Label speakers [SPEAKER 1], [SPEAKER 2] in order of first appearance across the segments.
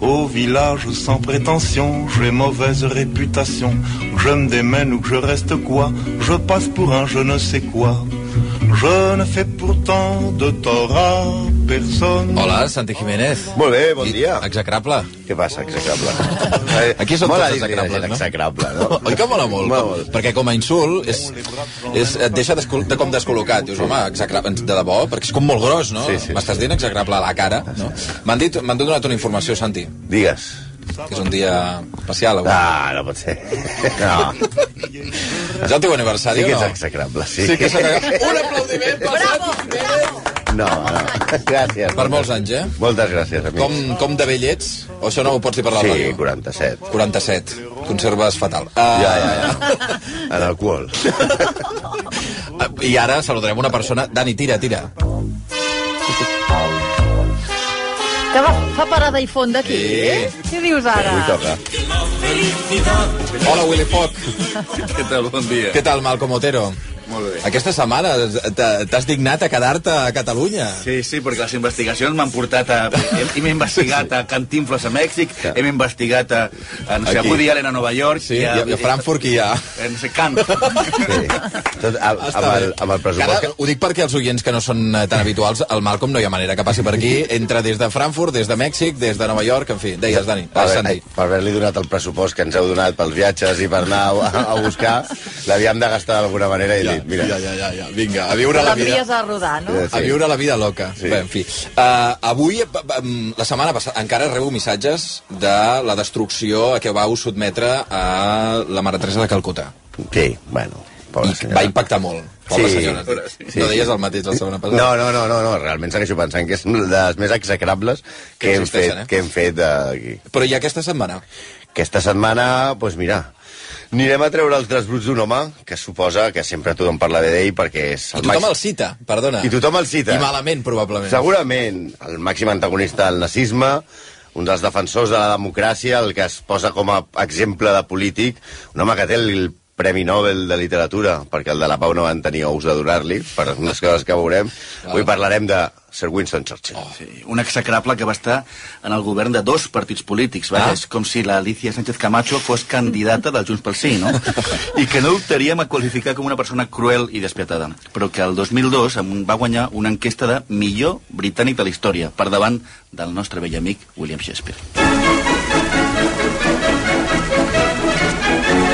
[SPEAKER 1] Au village sans prétention, j'ai mauvaise réputation. Que je me démène ou que je reste quoi, je passe pour un je ne sais quoi. Je ne fais pourtant de tort à personne.
[SPEAKER 2] Hola, Santi Jiménez.
[SPEAKER 3] Molt bé, bon dia.
[SPEAKER 2] Execrable.
[SPEAKER 3] Què passa, execrable?
[SPEAKER 2] Aquí són
[SPEAKER 3] Mola
[SPEAKER 2] tots
[SPEAKER 3] dir-li a la gent
[SPEAKER 2] execrables, no?
[SPEAKER 3] Execrable, no?
[SPEAKER 2] Oi que mola molt?
[SPEAKER 3] Mola
[SPEAKER 2] Com,
[SPEAKER 3] molt.
[SPEAKER 2] perquè com a insult és, és, et deixa descol, de com descol·locat. Dius, home, execrable, de debò, perquè és com molt gros, no?
[SPEAKER 3] Sí, sí,
[SPEAKER 2] M'estàs dient execrable a la cara, no? M'han dit, m'han donat una informació, Santi,
[SPEAKER 3] Digues.
[SPEAKER 2] que és un dia especial avui.
[SPEAKER 3] Ah, no pot ser. No,
[SPEAKER 2] És el teu aniversari,
[SPEAKER 3] sí que
[SPEAKER 2] o
[SPEAKER 3] ets
[SPEAKER 2] no?
[SPEAKER 3] execrable, sí.
[SPEAKER 2] Sí que és execrable. Un aplaudiment pel Santi Jiménez.
[SPEAKER 3] No, no. Gràcies.
[SPEAKER 2] Per molts anys, eh?
[SPEAKER 3] Moltes gràcies, amics.
[SPEAKER 2] Com, com de vell ets? O això no ho pots dir per la
[SPEAKER 3] Sí,
[SPEAKER 2] ràdio?
[SPEAKER 3] 47.
[SPEAKER 2] 47. Conserves fatal. Uh,
[SPEAKER 3] Ja, ja, ja. En alcohol.
[SPEAKER 2] Ah, I ara saludarem una persona... Dani, tira, tira.
[SPEAKER 4] Que va, fa parada i font d'aquí,
[SPEAKER 2] Sí.
[SPEAKER 4] eh? Què dius ara?
[SPEAKER 3] Avui toca.
[SPEAKER 2] Hola, Willy Foc.
[SPEAKER 5] Què tal? Bon dia.
[SPEAKER 2] Què tal, Malcom Otero?
[SPEAKER 5] Molt bé.
[SPEAKER 2] Aquesta setmana t'ha- t'has dignat a quedar-te a Catalunya.
[SPEAKER 5] Sí, sí, perquè les investigacions m'han portat a... hem- Hem investigat a Cantinflas a Mèxic, hem investigat a, a no sé, a
[SPEAKER 2] Aquí.
[SPEAKER 5] Woody Allen a Nova York...
[SPEAKER 2] Sí, i a, i a Frankfurt i a...
[SPEAKER 5] eh, No sé, Kant.
[SPEAKER 3] Sí. Tot, amb,
[SPEAKER 2] Està
[SPEAKER 3] amb, el,
[SPEAKER 2] bé.
[SPEAKER 3] amb el pressupost...
[SPEAKER 2] Que ara, ho dic perquè els oients que no són eh, tan habituals, el Malcolm no hi ha manera que passi per aquí. Entra des de Frankfurt, des de Mèxic, des de Nova York, en fi. Deies, Dani.
[SPEAKER 3] Per
[SPEAKER 2] Ah,
[SPEAKER 3] haver-
[SPEAKER 2] Santi.
[SPEAKER 3] per haver-li donat el pressupost que ens heu donat pels viatges i per anar a, a buscar, l'havíem de gastar d'alguna manera i ja, dit, mira,
[SPEAKER 2] ja, ja, ja, ja. Vinga, a viure la vida.
[SPEAKER 4] L'envies a rodar, no?
[SPEAKER 3] Sí.
[SPEAKER 2] A viure la vida loca. Sí. Bé, en fi. Uh, avui, pa- pa- mm, la setmana passada, encara rebo missatges de la destrucció a què vau sotmetre a la Mare Teresa de Calcuta.
[SPEAKER 3] Sí, bueno, pobra
[SPEAKER 2] I va impactar molt. Pobra sí, senyora. Sí, no deies el mateix la setmana passada.
[SPEAKER 3] No, no, no, no, no, realment segueixo pensant que és una de les més execrables que,
[SPEAKER 2] Que
[SPEAKER 3] hem fet,
[SPEAKER 2] existeixen, eh?
[SPEAKER 3] que hem fet eh, aquí.
[SPEAKER 2] Però i aquesta setmana?
[SPEAKER 3] Aquesta setmana, doncs pues mira, anirem a treure els tres bruts d'un home, que suposa que sempre tothom parla bé d'ell perquè és
[SPEAKER 2] I
[SPEAKER 3] el
[SPEAKER 2] tothom
[SPEAKER 3] màxim-
[SPEAKER 2] el cita, perdona.
[SPEAKER 3] I tothom el cita. eh?
[SPEAKER 2] I malament, probablement.
[SPEAKER 3] Segurament el màxim antagonista del nazisme, un dels defensors de la democràcia, el que es posa com a exemple de polític, un home que té el Premi Nobel de Literatura, perquè el de la Pau no van tenir ous de donar-li, per unes coses que veurem. Avui parlarem de Sir Winston Churchill.
[SPEAKER 2] Oh,
[SPEAKER 5] Sí, un execrable que va estar en el govern de dos partits polítics. Va?
[SPEAKER 2] Ah.
[SPEAKER 5] És com si l'Alicia Sánchez Camacho fos candidata del Junts pel Sí, no? I que no dubtaríem a qualificar com una persona cruel i despietada. Però que el 2002 amb un- va guanyar una enquesta de millor britànic de la història, per davant del nostre vell amic William Shakespeare.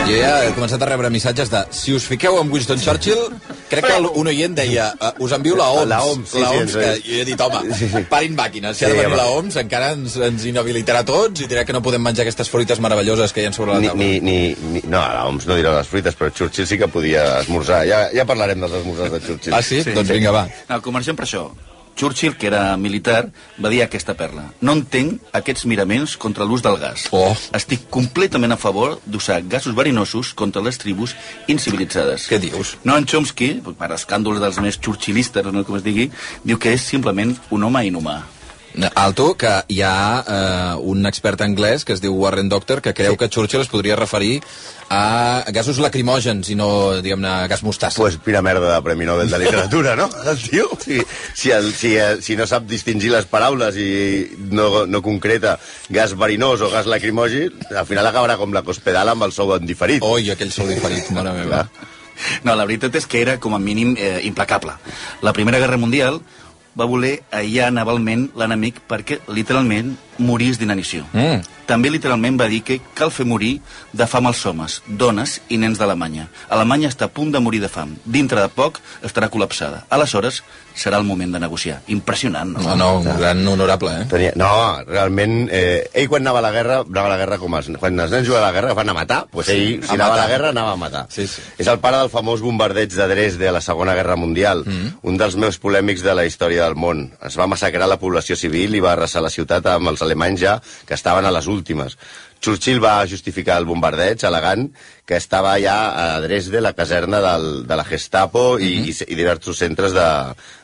[SPEAKER 2] Jo ja he començat a rebre missatges de si us fiqueu amb Winston Churchill, crec que el- un oient deia uh, us envio la OMS.
[SPEAKER 3] La OMS, sí,
[SPEAKER 2] la
[SPEAKER 3] sí,
[SPEAKER 2] OMS
[SPEAKER 3] ens ho
[SPEAKER 2] que
[SPEAKER 3] diu.
[SPEAKER 2] jo he dit, home, parin màquines. Si ha
[SPEAKER 3] Sí,
[SPEAKER 2] de venir
[SPEAKER 3] home.
[SPEAKER 2] la OMS, encara ens, ens inhabilitarà a tots i dirà que no podem menjar aquestes fruites meravelloses que hi ha sobre la
[SPEAKER 3] Ni,
[SPEAKER 2] taula.
[SPEAKER 3] ni, ni, ni, no, a l'OMS no dirà les fruites, però Churchill sí que podia esmorzar. Ja, ja parlarem dels esmorzars de Churchill.
[SPEAKER 2] Ah, sí? sí? Doncs vinga, va.
[SPEAKER 5] No, comencem per això. Churchill, que era militar, va dir aquesta perla. No entenc aquests miraments contra l'ús del gas.
[SPEAKER 2] Oh.
[SPEAKER 5] Estic completament a favor d'usar gasos verinosos contra les tribus incivilitzades.
[SPEAKER 2] Què dius?
[SPEAKER 5] Noam Chomsky, per escàndol dels més churchillistes, no sé com es digui, diu que és simplement un home inhumà.
[SPEAKER 2] Alto, que hi ha eh, un expert anglès que es diu Warren Doctor que creu sí. que Churchill es podria referir a gasos lacrimògens i no, diguem-ne, gas mostassa.
[SPEAKER 3] Pues pina merda de Premi Nobel de Literatura, no? El tio, si, si, el, si, eh, si no sap distingir les paraules i no, no concreta gas verinós o gas lacrimogi, al final acabarà com la cospedala amb el sou indiferit. Oh.
[SPEAKER 2] Oi, aquell sol diferit, mare meva.
[SPEAKER 3] Clar.
[SPEAKER 5] No, la veritat és que era com a mínim eh, implacable. La Primera Guerra Mundial va voler aïllar navalment l'enemic perquè literalment morís d'inanició.
[SPEAKER 2] Mm.
[SPEAKER 5] També literalment va dir que cal fer morir de fam als homes, dones i nens d'Alemanya. Alemanya està a punt de morir de fam. Dintre de poc estarà col·lapsada. Aleshores serà el moment de negociar. Impressionant, no?
[SPEAKER 2] No, no, un gran honorable, eh?
[SPEAKER 3] Tenia... No, realment, eh, ell quan anava a la guerra, anava a la guerra com els... Quan els nens juguen a la guerra van a matar, doncs ell,
[SPEAKER 2] Sí,
[SPEAKER 3] si
[SPEAKER 2] a
[SPEAKER 3] anava a
[SPEAKER 2] matar.
[SPEAKER 3] la guerra, anava a matar.
[SPEAKER 2] Sí, sí.
[SPEAKER 3] És el pare del famós bombardeig de Dresde a la Segona Guerra Mundial,
[SPEAKER 2] Mm.
[SPEAKER 3] un dels meus polèmics de la història del món. Es va massacrar la població civil i va arrasar la ciutat amb els alemanys ja, que estaven a les últimes. Churchill va justificar el bombardeig al·legant que estava ja a Dresde, la caserna del, de la Gestapo i,
[SPEAKER 2] Mm-hmm.
[SPEAKER 3] i, i diversos centres de,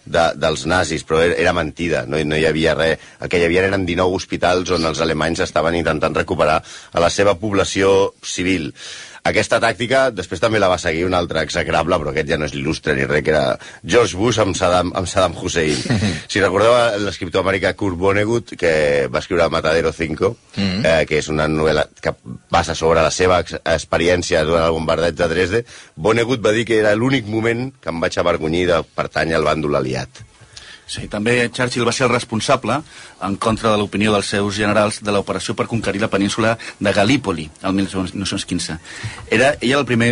[SPEAKER 3] de, dels nazis, però era, era mentida, no, hi- no hi havia res. El que hi havia eren 19 hospitals on els alemanys estaven intentant recuperar a la seva població civil. Aquesta tàctica després també la va seguir un altre execrable, però aquest ja no és il·lustre ni res, que era George Bush amb Saddam, amb Saddam Hussein. si recordeu l'escriptor americà Kurt Vonnegut, que va escriure Matadero 5, mm. eh, que és una novel·la que passa sobre la seva ex- experiència durant el bombardeig de Dresde, Vonnegut va dir que era l'únic moment que em vaig avergonyir de pertànyer al bàndol aliat.
[SPEAKER 5] Sí, també Churchill va ser el responsable, en contra de l'opinió dels seus generals, de l'operació per conquerir la península de Galípoli, el 1915. Era ell el primer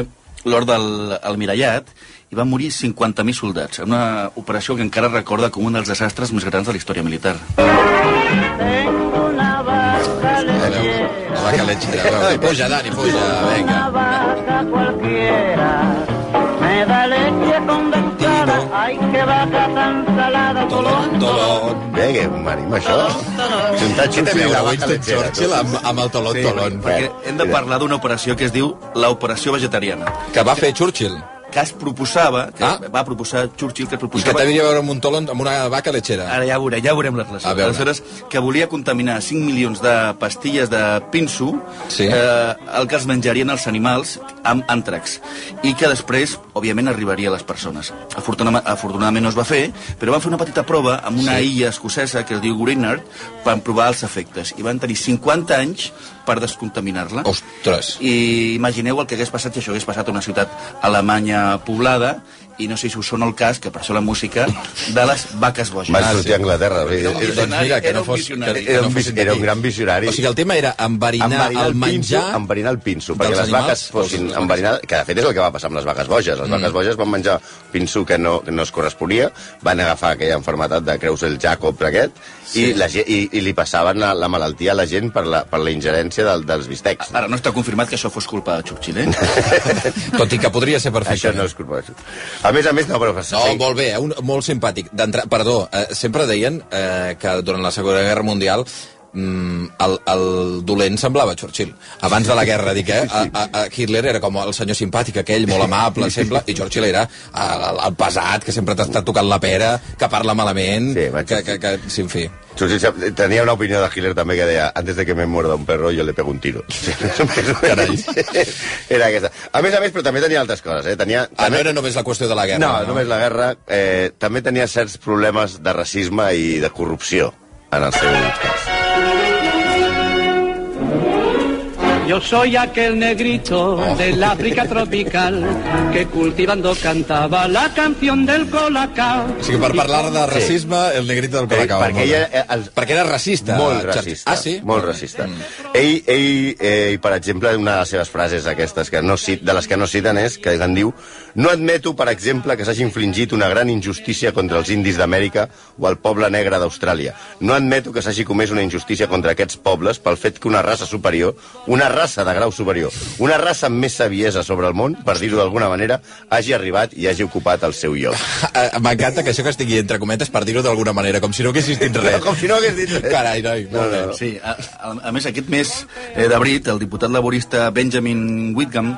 [SPEAKER 5] lord del almirallat i van morir 50.000 soldats, en una operació que encara recorda com un dels desastres més grans de la història militar.
[SPEAKER 2] A veure, la vaca lechera, a veure, puja, Dani, puja, vinga.
[SPEAKER 6] vaca cualquiera. Me da leche condensada, ay que vaca tan salada,
[SPEAKER 2] Tolón, tolón.
[SPEAKER 3] Bé, que m'anima això. Juntar
[SPEAKER 2] Què té a
[SPEAKER 3] Churchill i
[SPEAKER 2] veure
[SPEAKER 3] la vaca
[SPEAKER 2] Winston
[SPEAKER 3] lechera,
[SPEAKER 2] Churchill
[SPEAKER 3] tu.
[SPEAKER 2] amb, amb el tolón, tolón?
[SPEAKER 5] perquè
[SPEAKER 3] bueno,
[SPEAKER 5] hem de
[SPEAKER 3] mira.
[SPEAKER 5] parlar d'una operació que es diu l'operació vegetariana,
[SPEAKER 2] Que va fer Churchill.
[SPEAKER 5] que es proposava, que
[SPEAKER 2] Ah.
[SPEAKER 5] va proposar Churchill, que
[SPEAKER 2] I que
[SPEAKER 5] es proposava...
[SPEAKER 2] t'havia a veure amb un tolón, amb una vaca lechera.
[SPEAKER 5] Ara ja veurem, ja veurem la relació.
[SPEAKER 2] A veure.
[SPEAKER 5] Aleshores, que volia contaminar 5 milions de pastilles de pinso,
[SPEAKER 2] Sí.
[SPEAKER 5] eh, el que es menjarien els animals amb àntrax, i que després, òbviament, arribaria a les persones. Afortunadament, afortunadament no es va fer, però van fer una petita prova amb una
[SPEAKER 2] Sí.
[SPEAKER 5] illa escocesa que es diu Greenard, per provar els efectes, i van tenir 50 anys per descontaminar-la.
[SPEAKER 2] Ostres.
[SPEAKER 5] I imagineu el que hagués passat si això hagués passat a una ciutat alemanya poblada, i no sé si us sona el cas, que per això la música, de les vaques boges.
[SPEAKER 3] Van
[SPEAKER 2] Ah,
[SPEAKER 3] sortir
[SPEAKER 2] sí.
[SPEAKER 3] a Anglaterra. vull dir,
[SPEAKER 5] Era un
[SPEAKER 3] era-
[SPEAKER 2] Doncs mira, que
[SPEAKER 5] Era
[SPEAKER 2] no
[SPEAKER 5] un
[SPEAKER 2] fos... Que,
[SPEAKER 5] visionari.
[SPEAKER 2] que
[SPEAKER 3] Era
[SPEAKER 2] no
[SPEAKER 3] un,
[SPEAKER 2] fossin
[SPEAKER 3] vis- era un
[SPEAKER 2] d'aquí.
[SPEAKER 3] gran visionari.
[SPEAKER 2] O sigui, el tema era enverinar, el menjar...
[SPEAKER 3] Pinso, enverinar el pinso, perquè
[SPEAKER 2] dels
[SPEAKER 3] les vaques
[SPEAKER 2] animals,
[SPEAKER 3] fossin
[SPEAKER 2] dels-
[SPEAKER 3] enverinades, que de fet és el que va passar amb les vaques boges.
[SPEAKER 2] Mm.
[SPEAKER 3] Les vaques boges van menjar pinso que no, que no es corresponia, van agafar aquella enfermetat de Creus el Jacob aquest, i, la, ge- i, i li passaven la, la malaltia a la gent per la, per la ingerència del, dels bistecs.
[SPEAKER 2] Ah,
[SPEAKER 5] Ara, no està confirmat que això fos culpa de Churchill, eh?
[SPEAKER 2] Tot i que podria ser
[SPEAKER 3] Això
[SPEAKER 2] perfecte.
[SPEAKER 3] no és culpa d'això. A més a més, no, però...
[SPEAKER 2] No, molt bé, eh? un, molt simpàtic. D'entra- Perdó, eh, sempre deien eh, que durant la Segona Guerra Mundial mm, el, el dolent semblava Churchill. Abans de la guerra, dic, eh? A, a, a Hitler era com el senyor simpàtic aquell, molt amable, sempre, i Churchill era el, el- el pesat, que sempre t'està tocant la pera, que parla malament,
[SPEAKER 3] Sí,
[SPEAKER 2] que,
[SPEAKER 3] vaig-
[SPEAKER 2] que, que, sí, en fi.
[SPEAKER 3] Churchill sap- tenia una opinió de Hitler també que deia antes de que me muerda un perro yo le pego un tiro Carai. era aquesta a més a més però també tenia altres coses eh? tenia,
[SPEAKER 2] Ah, no
[SPEAKER 3] també-
[SPEAKER 2] era només la qüestió de la guerra.
[SPEAKER 3] no, només la guerra eh, també tenia certs problemes de racisme i de corrupció en el seu cas
[SPEAKER 6] Yo soy aquel negrito del África tropical que cultivando cantaba la canción del colacao.
[SPEAKER 2] O sigui, per parlar de racisme, el negrito del Colacao.
[SPEAKER 3] perquè
[SPEAKER 2] molt bé.
[SPEAKER 3] ella, eh, els-
[SPEAKER 2] perquè era racista.
[SPEAKER 3] Molt
[SPEAKER 2] Churchill.
[SPEAKER 3] racista.
[SPEAKER 2] Ah, sí?
[SPEAKER 3] Molt
[SPEAKER 2] bé.
[SPEAKER 3] racista. Ell, ell, eh, per exemple, una de les seves frases aquestes que no cit, de les que no citen és que en diu no admeto, per exemple, que s'hagi infligit una gran injustícia contra els indis d'Amèrica o el poble negre d'Austràlia. No admeto que s'hagi comès una injustícia contra aquests pobles pel fet que una raça superior, una raça de grau superior, una raça amb més saviesa sobre el món, per dir-ho d'alguna manera, hagi arribat i hagi ocupat el seu lloc.
[SPEAKER 2] Eh, M'encanta que això que estigui entre cometes per dir-ho d'alguna manera, com si no haguessis dit res.
[SPEAKER 3] Com si no hagués dit... res.
[SPEAKER 2] Carai, noi,
[SPEAKER 3] No,
[SPEAKER 2] molt
[SPEAKER 3] no,
[SPEAKER 2] bé.
[SPEAKER 3] no.
[SPEAKER 5] Sí, a, a, a més, aquest mes eh, d'abril, el diputat laborista Benjamin Whitcomb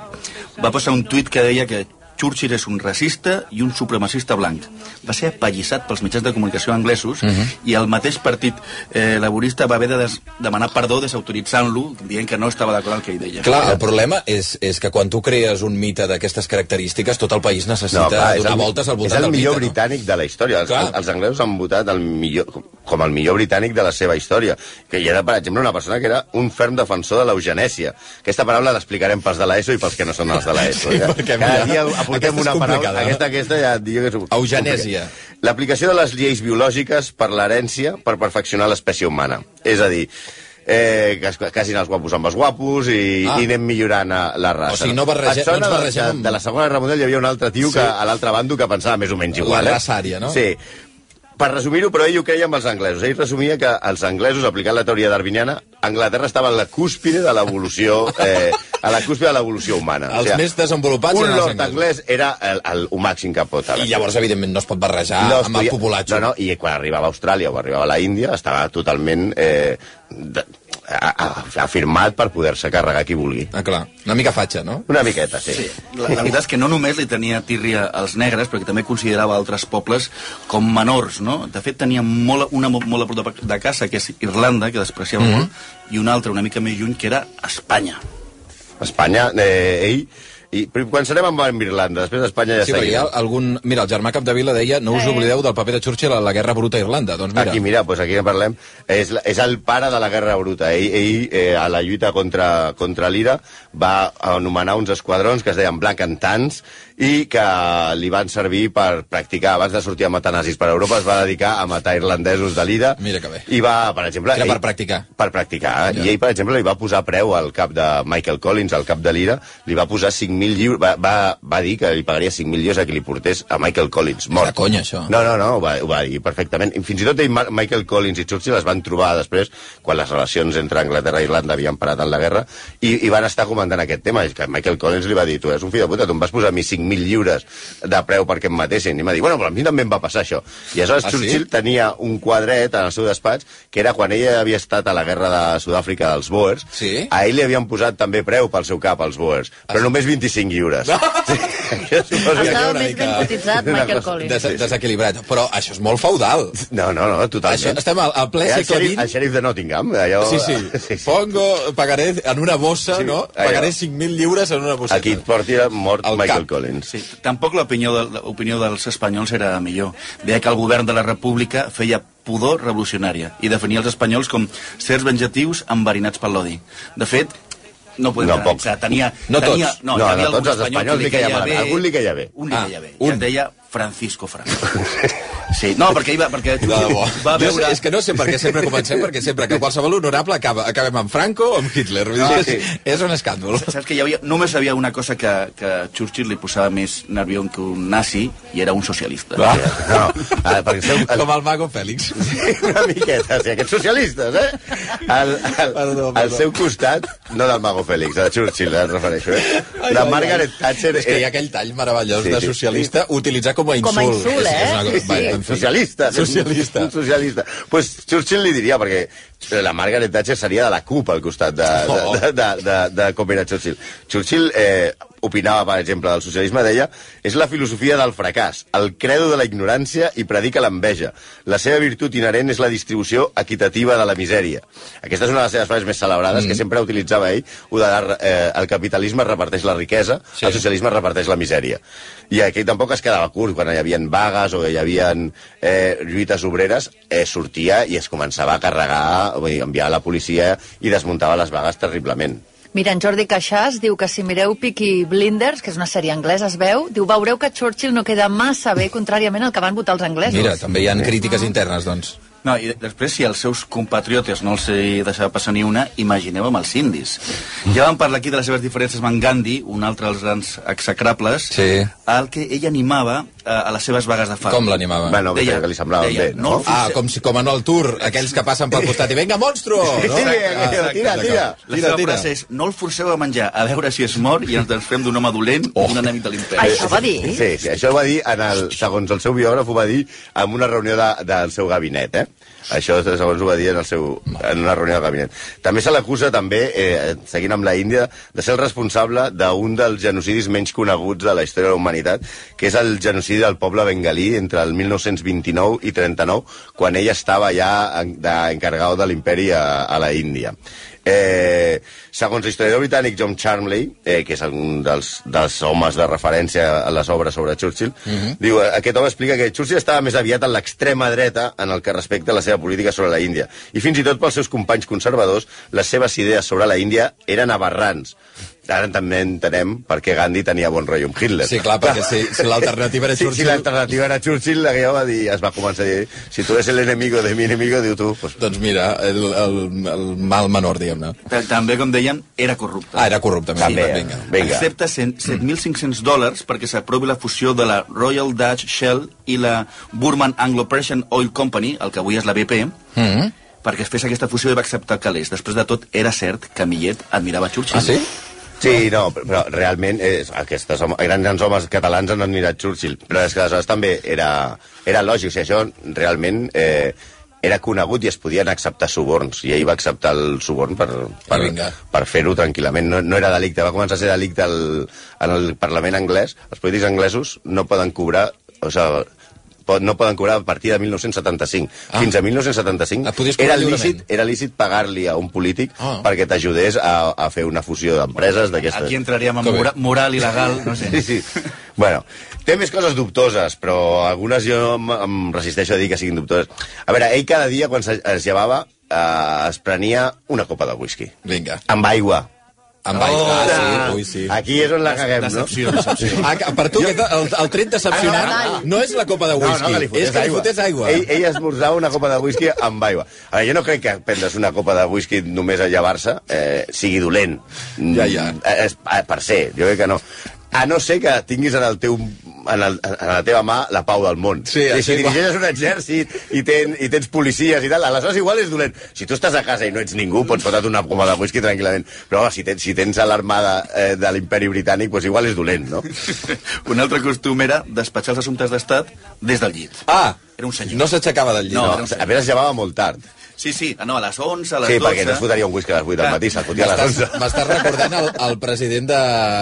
[SPEAKER 5] va posar un tuit que deia que Churchill és un racista i un supremacista blanc. Va ser apallissat pels mitjans de comunicació anglesos
[SPEAKER 2] Mhm.
[SPEAKER 5] i el mateix partit eh, laborista va haver de des demanar perdó desautoritzant-lo, dient que no estava d'acord amb el que ell deia.
[SPEAKER 2] Clar, el problema és, és que quan tu crees un mite d'aquestes característiques, tot el país necessita
[SPEAKER 3] és
[SPEAKER 2] donar
[SPEAKER 3] el-
[SPEAKER 2] voltes al voltant
[SPEAKER 3] És el
[SPEAKER 2] del
[SPEAKER 3] millor
[SPEAKER 2] mite, no?
[SPEAKER 3] britànic de la història. Els,
[SPEAKER 2] Clar.
[SPEAKER 3] els, els anglesos han votat el millor, com- com el millor britànic de la seva història. Que hi era, per exemple, una persona que era un ferm defensor de l'eugenèsia. Aquesta paraula l'explicarem pels de l'ESO i pels que no són els de l'ESO.
[SPEAKER 2] Sí,
[SPEAKER 3] ja.
[SPEAKER 2] perquè,
[SPEAKER 3] Cada
[SPEAKER 2] mira,
[SPEAKER 3] dia
[SPEAKER 2] aquesta és
[SPEAKER 3] aportem una paraula.
[SPEAKER 2] complicada, no?
[SPEAKER 3] Aquesta, aquesta ja et dic que és un-
[SPEAKER 2] Eugenèsia.
[SPEAKER 3] complicat. L'aplicació de les lleis biològiques per l'herència per perfeccionar l'espècie humana. És a dir, eh, que, es- que casin els guapos amb els guapos i,
[SPEAKER 2] Ah.
[SPEAKER 3] ah. i anem millorant eh, la raça.
[SPEAKER 2] O sigui, no barregem-
[SPEAKER 3] Et sona
[SPEAKER 2] no ens
[SPEAKER 3] de-
[SPEAKER 2] barregem amb-
[SPEAKER 3] De, de la Segona Guerra Mundial hi havia un altre tio
[SPEAKER 2] Sí.
[SPEAKER 3] sí. que a l'altre bando que pensava més o menys
[SPEAKER 2] La
[SPEAKER 3] igual. eh?
[SPEAKER 2] raça ària, no?
[SPEAKER 3] Sí. Per resumir-ho, però ell ho creia amb els anglesos. Ell resumia que els anglesos, aplicant la teoria darwiniana, Anglaterra estava a la cúspide de l'evolució eh, a la cúspide de l'evolució humana.
[SPEAKER 2] Els més desenvolupats
[SPEAKER 3] Un
[SPEAKER 2] eren els
[SPEAKER 3] lord
[SPEAKER 2] anglesos.
[SPEAKER 3] anglès era el, el, el màxim que pot haver.
[SPEAKER 2] I llavors, evidentment, no es pot barrejar
[SPEAKER 3] No es
[SPEAKER 2] amb el populatge.
[SPEAKER 3] No, no, i quan arribava a Austràlia o arribava a la Índia estava totalment... Eh, de, ha, ha, ha firmat per poder-se carregar qui vulgui.
[SPEAKER 2] Ah, clar. Una mica fatxa, no?
[SPEAKER 3] Una miqueta, sí.
[SPEAKER 5] Sí, la, la veritat és que no només li tenia tírria als negres, perquè també considerava altres pobles com menors, no? De fet, tenia molt, una mo- molt a prop de, de casa, que és Irlanda, que despreciava mm -hmm. molt, i una altra una mica més lluny, que era Espanya.
[SPEAKER 3] Espanya, eh, ell... I però començarem amb amb Irlanda, després d'Espanya ja
[SPEAKER 2] Sí, perquè hi ha
[SPEAKER 3] seguim.
[SPEAKER 2] algun... Mira, el germà Capdevila deia no us
[SPEAKER 4] Eh.
[SPEAKER 2] oblideu del paper de Churchill a la Guerra Bruta a Irlanda. Doncs mira,
[SPEAKER 3] Aquí, mira, doncs aquí en parlem. És, la- és el pare de la Guerra Bruta. Ell, ell eh, a la lluita contra, contra l'Ira, va anomenar uns esquadrons que es deien Black and Tans i que li van servir per practicar. Abans de sortir a matar nazis per Europa, es va dedicar a matar irlandesos de l'Ira.
[SPEAKER 2] Mira que bé.
[SPEAKER 3] I va, per exemple...
[SPEAKER 2] Era per practicar.
[SPEAKER 3] Per practicar. Eh?
[SPEAKER 2] Ja.
[SPEAKER 3] I ell, per exemple, li va posar preu al cap de Michael Collins, al cap de l'Ira, li va posar 5.000 lliures... Va, va, va dir que li pagaria 5.000 lliures a qui li portés a Michael Collins, mort.
[SPEAKER 2] de conya, això.
[SPEAKER 3] No, no, no, ho va, ho va dir perfectament. Fins i tot ell, Ma- Michael Collins i Churchill es van trobar després, quan les relacions entre Anglaterra i Irlanda havien parat en la guerra, i, i van estar comentant aquest tema. I que Michael Collins li va dir, tu eres un fill de puta, tu em vas posar a mi 5.000 lliures de preu perquè em matessin. I em va dir, bueno, però a mi també em va passar això. I aleshores
[SPEAKER 2] Ah, sí?
[SPEAKER 3] Churchill tenia un quadret en el seu despatx que era quan ella havia estat a la guerra de Sud-àfrica dels Boers.
[SPEAKER 2] Sí. Ah,
[SPEAKER 3] A ell li havien posat també preu pel seu cap als Boers, però només 25 lliures. Sí. Això suposo que-
[SPEAKER 4] Estava
[SPEAKER 2] una
[SPEAKER 4] més
[SPEAKER 2] mica-
[SPEAKER 4] ben cotitzat
[SPEAKER 3] una
[SPEAKER 4] Michael
[SPEAKER 3] cosa-
[SPEAKER 4] Collins.
[SPEAKER 2] des desequilibrat. Però això és molt feudal.
[SPEAKER 3] No, no, no, totalment.
[SPEAKER 2] Això, estem al, al ple
[SPEAKER 3] Era el
[SPEAKER 2] segle
[SPEAKER 3] xerif- El
[SPEAKER 2] XX.
[SPEAKER 3] xerif de Nottingham, allò... eh,
[SPEAKER 2] Sí, sí. Eh, Pongo, pagaré en una bossa,
[SPEAKER 3] Sí,
[SPEAKER 2] no?
[SPEAKER 3] allò.
[SPEAKER 2] Pagaré 5.000 lliures en una bosseta.
[SPEAKER 3] Aquí et porti mort
[SPEAKER 2] Al
[SPEAKER 3] Michael
[SPEAKER 2] cap.
[SPEAKER 3] Collins.
[SPEAKER 5] Sí, tampoc l'opinió de, l'opinió dels espanyols era millor. Deia que el govern de la república feia pudor revolucionària i definia els espanyols com certs venjatius enverinats per l'odi. De fet, no podem
[SPEAKER 3] No,
[SPEAKER 5] generalitzar. Tenia,
[SPEAKER 2] No tots.
[SPEAKER 5] tenia,
[SPEAKER 3] No,
[SPEAKER 5] hi
[SPEAKER 3] no,
[SPEAKER 5] havia
[SPEAKER 3] tots
[SPEAKER 5] algun
[SPEAKER 3] els
[SPEAKER 5] espanyol
[SPEAKER 3] espanyols
[SPEAKER 5] que
[SPEAKER 3] li caia malament. Algun li caia bé.
[SPEAKER 5] Un li
[SPEAKER 2] Ah,
[SPEAKER 5] caia bé.
[SPEAKER 2] un.
[SPEAKER 5] I es deia Francisco Franco. Sí, no, perquè, ell va, perquè
[SPEAKER 2] De debò.
[SPEAKER 5] va
[SPEAKER 2] Jo sé-
[SPEAKER 5] veure...
[SPEAKER 2] és que no sé per què sempre comencem, perquè sempre que qualsevol honorable acaba, acabem amb Franco o amb Hitler. Vull dir,
[SPEAKER 3] Ah, Sí,
[SPEAKER 2] és, és un escàndol.
[SPEAKER 5] Saps que hi havia, només havia una cosa que, que Churchill li posava més nerviós que un nazi i era un socialista.
[SPEAKER 3] Ah.
[SPEAKER 2] Va.
[SPEAKER 3] No, eh, perquè seu... El...
[SPEAKER 2] Com el mago Fèlix.
[SPEAKER 3] Una miqueta, sí, aquests socialistes, eh? Al, al,
[SPEAKER 2] Perdó, perdó.
[SPEAKER 3] al seu costat, no del Mago Félix, de Churchill, eh, em refereixo, eh? De Margaret Thatcher...
[SPEAKER 2] És que hi ha
[SPEAKER 3] eh,
[SPEAKER 2] aquell tall meravellós
[SPEAKER 3] Sí,
[SPEAKER 2] de
[SPEAKER 3] sí.
[SPEAKER 2] socialista utilitzar com a insult.
[SPEAKER 4] Com a insult,
[SPEAKER 2] És-
[SPEAKER 4] eh?
[SPEAKER 2] és una cosa-
[SPEAKER 4] Sí,
[SPEAKER 2] Va, en
[SPEAKER 3] Sí,
[SPEAKER 2] fi.
[SPEAKER 3] socialista.
[SPEAKER 2] Socialista.
[SPEAKER 3] Un socialista. Pues Churchill li diria, perquè la Margaret Thatcher seria de la CUP al costat de, de,
[SPEAKER 2] Oh.
[SPEAKER 3] de, de, de, de com era Churchill. Churchill eh, opinava, per exemple, del socialisme, deia, és la filosofia del fracàs, el credo de la ignorància i predica l'enveja. La seva virtut inherent és la distribució equitativa de la misèria. Aquesta és una de les seves frases més celebrades, mm. que sempre utilitzava ell, o de la, eh, el capitalisme reparteix la riquesa,
[SPEAKER 2] Sí.
[SPEAKER 3] sí. el socialisme reparteix la misèria. I aquí tampoc es quedava curt, quan hi havia vagues o hi havia eh, lluites obreres, eh, sortia i es començava a carregar, vull dir, enviar la policia i desmuntava les vagues terriblement.
[SPEAKER 4] Mira, en Jordi Caixàs diu que si mireu Peaky Blinders, que és una sèrie anglesa, es veu, diu, veureu que Churchill no queda massa bé, contràriament al que van votar els anglesos.
[SPEAKER 2] Mira, també hi ha crítiques internes, doncs.
[SPEAKER 5] No, i de- després, si els seus compatriotes no els hi deixava passar ni una, imagineu amb els indis. Ja vam parlar aquí de les seves diferències amb en Gandhi, un altre dels grans execrables,
[SPEAKER 2] Sí.
[SPEAKER 5] al que ell animava eh, a les seves vagues de fam.
[SPEAKER 2] Com l'animava?
[SPEAKER 3] Va, no, que li semblava
[SPEAKER 5] deia,
[SPEAKER 3] bé, no?
[SPEAKER 5] el
[SPEAKER 2] Ah,
[SPEAKER 5] forceu-
[SPEAKER 2] com, si, com en el tour, aquells que passen pel costat i venga, monstruo! No?
[SPEAKER 3] Sí,
[SPEAKER 2] Ah,
[SPEAKER 3] tira, tira, tira.
[SPEAKER 5] La seva frase és, no el forceu a menjar, a veure si es mor i ens transformem d'un home dolent
[SPEAKER 2] Oh.
[SPEAKER 5] o d'un enemic de l'imperi.
[SPEAKER 2] eh,
[SPEAKER 4] Això va dir?
[SPEAKER 3] Sí, sí, això ho va dir, en el, segons el seu biògraf, ho va dir en una reunió de, del seu gabinet, eh? Això, segons ho va dir en, el seu, en una reunió del gabinet. També se l'acusa, també, eh, seguint amb la Índia, de ser el responsable d'un dels genocidis menys coneguts de la història de la humanitat, que és el genocidi del poble bengalí entre el 1929 i 39, quan ell estava ja en- de- encarregat de l'imperi a, a la Índia. Eh, segons l'historiador britànic John Charmley, eh, que és un dels, dels homes de referència a les obres sobre Churchill, mm
[SPEAKER 2] Mhm.
[SPEAKER 3] -hmm. diu, eh, aquest home explica que Churchill estava més aviat en l'extrema dreta en el que respecta la seva política sobre la Índia. I fins i tot pels seus companys conservadors, les seves idees sobre la Índia eren aberrants. Ara també entenem per què Gandhi tenia bon rotllo amb Hitler.
[SPEAKER 2] Sí, clar, perquè si, si l'alternativa era
[SPEAKER 3] Sí, si
[SPEAKER 2] Churchill...
[SPEAKER 3] l'alternativa era Churchill, la que ja va dir, es va començar a dir, si tu eres el enemigo de mi enemigo, diu tu, pues,
[SPEAKER 2] Doncs mira, el, el, el mal menor, diguem-ne.
[SPEAKER 5] Ta- També, com dèiem, era corrupte.
[SPEAKER 2] Ah, era corrupte,
[SPEAKER 3] També,
[SPEAKER 2] també.
[SPEAKER 3] eh?
[SPEAKER 2] Vinga.
[SPEAKER 3] Vinga.
[SPEAKER 5] Accepta cent- 7.500 dòlars perquè s'aprovi la fusió de la Royal Dutch Shell i la Burman Anglo-Persian Oil Company, el que avui és la BP,
[SPEAKER 2] Mm.
[SPEAKER 5] perquè es fes aquesta fusió i va acceptar calés. Després de tot, era cert que Millet admirava Churchill.
[SPEAKER 2] Ah, sí?
[SPEAKER 3] Sí, no, però- però realment eh, aquestes home, grans, grans homes catalans han admirat Churchill, però és que aleshores també era, era lògic, o sigui, això realment eh, era conegut i es podien acceptar suborns, i ell va acceptar el suborn per, per,
[SPEAKER 2] I Eh, vinga.
[SPEAKER 3] per fer-ho tranquil·lament. No, no era delicte, va començar a ser delicte el, en el Parlament anglès. Els polítics anglesos no poden cobrar... O sigui, po- no poden cobrar a partir de 1975.
[SPEAKER 2] Ah.
[SPEAKER 3] Fins a 1975
[SPEAKER 2] Ah, podies cobrar
[SPEAKER 3] era
[SPEAKER 2] lliurement.
[SPEAKER 3] lícit, era lícit pagar-li a un polític
[SPEAKER 2] Ah.
[SPEAKER 3] perquè t'ajudés a, a fer una fusió d'empreses d'aquestes.
[SPEAKER 5] Aquí entraríem en
[SPEAKER 2] Que bé.
[SPEAKER 5] mora, moral il·legal, no sé.
[SPEAKER 3] Sí, sí. Bueno, té més coses dubtoses, però algunes jo em, em resisteixo a dir que siguin dubtoses. A veure, ell cada dia, quan se- es llevava, eh, es prenia una copa de whisky.
[SPEAKER 2] Vinga.
[SPEAKER 3] Amb aigua.
[SPEAKER 2] Amb oh, ah, sí, ui, sí.
[SPEAKER 3] Aquí és on la caguem, no?
[SPEAKER 5] Decepció, decepció.
[SPEAKER 2] Ah, que- per tu aquest, el, el tret
[SPEAKER 3] Ah,
[SPEAKER 2] decepcionant no és la copa de whisky,
[SPEAKER 3] que li fotés
[SPEAKER 2] és que li fotés aigua.
[SPEAKER 3] Ell, ell esmorzava una copa de whisky amb aigua. Ara, jo no crec que prendre's una copa de whisky només a llevar-se eh, sigui dolent.
[SPEAKER 2] Ja, ja.
[SPEAKER 3] Eh, és, eh, per ser, jo crec que no. A no ser que tinguis en, el teu, en, el, en la teva mà la pau del món.
[SPEAKER 2] Sí,
[SPEAKER 3] I
[SPEAKER 2] això
[SPEAKER 3] si
[SPEAKER 2] igual.
[SPEAKER 3] dirigeixes un exèrcit i, ten, i tens policies i tal, aleshores igual és dolent. Si tu estàs a casa i no ets ningú, pots fotre't una copa de whisky tranquil·lament. Però home, si tens, si tens a l'armada eh, de l'imperi britànic, doncs igual és dolent, no?
[SPEAKER 5] Un altre costum era despatxar els assumptes d'estat des del llit.
[SPEAKER 2] Ah,
[SPEAKER 5] Era un senyor.
[SPEAKER 2] no s'aixecava del llit.
[SPEAKER 3] No,
[SPEAKER 5] No,
[SPEAKER 3] a veure, es llevava molt tard.
[SPEAKER 5] Sí, sí, ah, no, a les 11, a les
[SPEAKER 3] Sí,
[SPEAKER 5] 12...
[SPEAKER 3] perquè no es fotaria un whisky a
[SPEAKER 2] Ah,
[SPEAKER 3] les 8 del
[SPEAKER 5] Clar.
[SPEAKER 3] matí, se'l fotia a les 11.
[SPEAKER 2] M'estàs recordant el, el president de,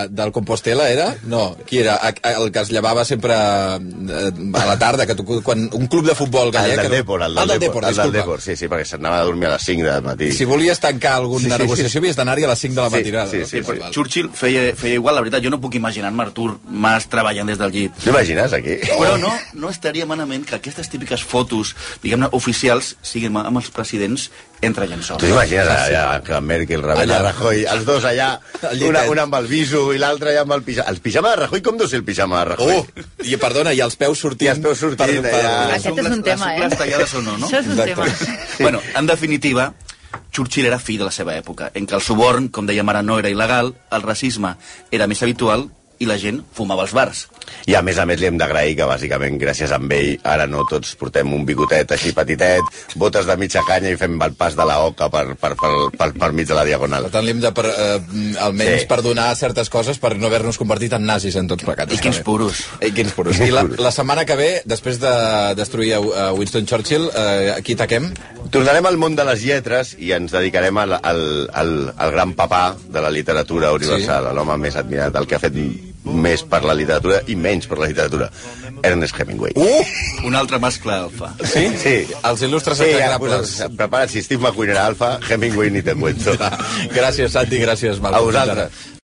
[SPEAKER 2] del Compostela, era? No, qui era? A- a- El que es llevava sempre eh, a la tarda, que tu, quan, un club de futbol
[SPEAKER 3] El
[SPEAKER 2] gallec...
[SPEAKER 3] del
[SPEAKER 2] que-
[SPEAKER 3] Depor, el del,
[SPEAKER 2] del Depor,
[SPEAKER 3] el del
[SPEAKER 2] disculpa.
[SPEAKER 3] Depor, sí, sí, perquè s'anava a dormir a les 5 del matí.
[SPEAKER 2] Si volies tancar alguna
[SPEAKER 3] Sí, sí, sí.
[SPEAKER 2] negociació havies d'anar-hi a les 5 de la
[SPEAKER 3] Sí,
[SPEAKER 2] matinada.
[SPEAKER 3] sí,
[SPEAKER 2] no?
[SPEAKER 3] sí,
[SPEAKER 5] Sí, però
[SPEAKER 2] Val.
[SPEAKER 5] Churchill feia, feia igual, la veritat, jo no puc imaginar-me Artur Mas treballant des del llit.
[SPEAKER 3] T'imagines, aquí?
[SPEAKER 5] Però no, no estaria malament que aquestes típiques fotos, diguem-ne, oficials, siguin amb els presidents entre llençols.
[SPEAKER 3] Tu imagines allà, Angela Merkel, Rebella
[SPEAKER 2] Ah, Allà.
[SPEAKER 3] allà. Rajoy, els dos allà,
[SPEAKER 2] Al llitet.
[SPEAKER 3] una, una amb el viso i l'altra ja amb el pijama. El pijama de Rajoy, com deu ser el pijama de Rajoy?
[SPEAKER 2] Oh, i perdona, i els peus sortint...
[SPEAKER 3] I els peus sortint, allà.
[SPEAKER 4] Aquest és un tema, eh?
[SPEAKER 5] Ah, Les ungles tallades o no, no?
[SPEAKER 4] Això és un tema.
[SPEAKER 2] Exacte.
[SPEAKER 5] Bueno, en definitiva, Churchill era fill de la seva època, en què el suborn, com dèiem ara, no era il·legal, el racisme era més habitual i la gent fumava als bars.
[SPEAKER 3] I a més a més li hem d'agrair que bàsicament gràcies a ell ara no tots portem un bigotet així petitet, botes de mitja canya i fem el pas de la oca per, per, per, per, per mig de la diagonal.
[SPEAKER 2] Per tant, li hem de, per, eh, almenys,
[SPEAKER 3] Sí.
[SPEAKER 2] sí. perdonar certes coses per no haver-nos convertit en nazis en tots plegats.
[SPEAKER 5] I quins puros.
[SPEAKER 2] I quins puros. I la, la setmana que ve, després de destruir a a Winston Churchill, eh, aquí taquem.
[SPEAKER 3] Tornarem al món de les lletres i ens dedicarem al, al, al, al gran papà de la literatura universal, sí. l'home més admirat, el que ha fet més per la literatura i menys per la literatura, Ernest Hemingway.
[SPEAKER 2] Uh!
[SPEAKER 5] Un altre mascle alfa.
[SPEAKER 3] Sí? Sí.
[SPEAKER 2] Els il·lustres
[SPEAKER 3] Sí,
[SPEAKER 2] sí,
[SPEAKER 3] ja,
[SPEAKER 2] agradables.
[SPEAKER 3] pues, prepara't, si Steve McQueen era alfa, Hemingway ni te cuento.
[SPEAKER 2] Gràcies, Santi, gràcies, Malcolm.
[SPEAKER 3] A vosaltres.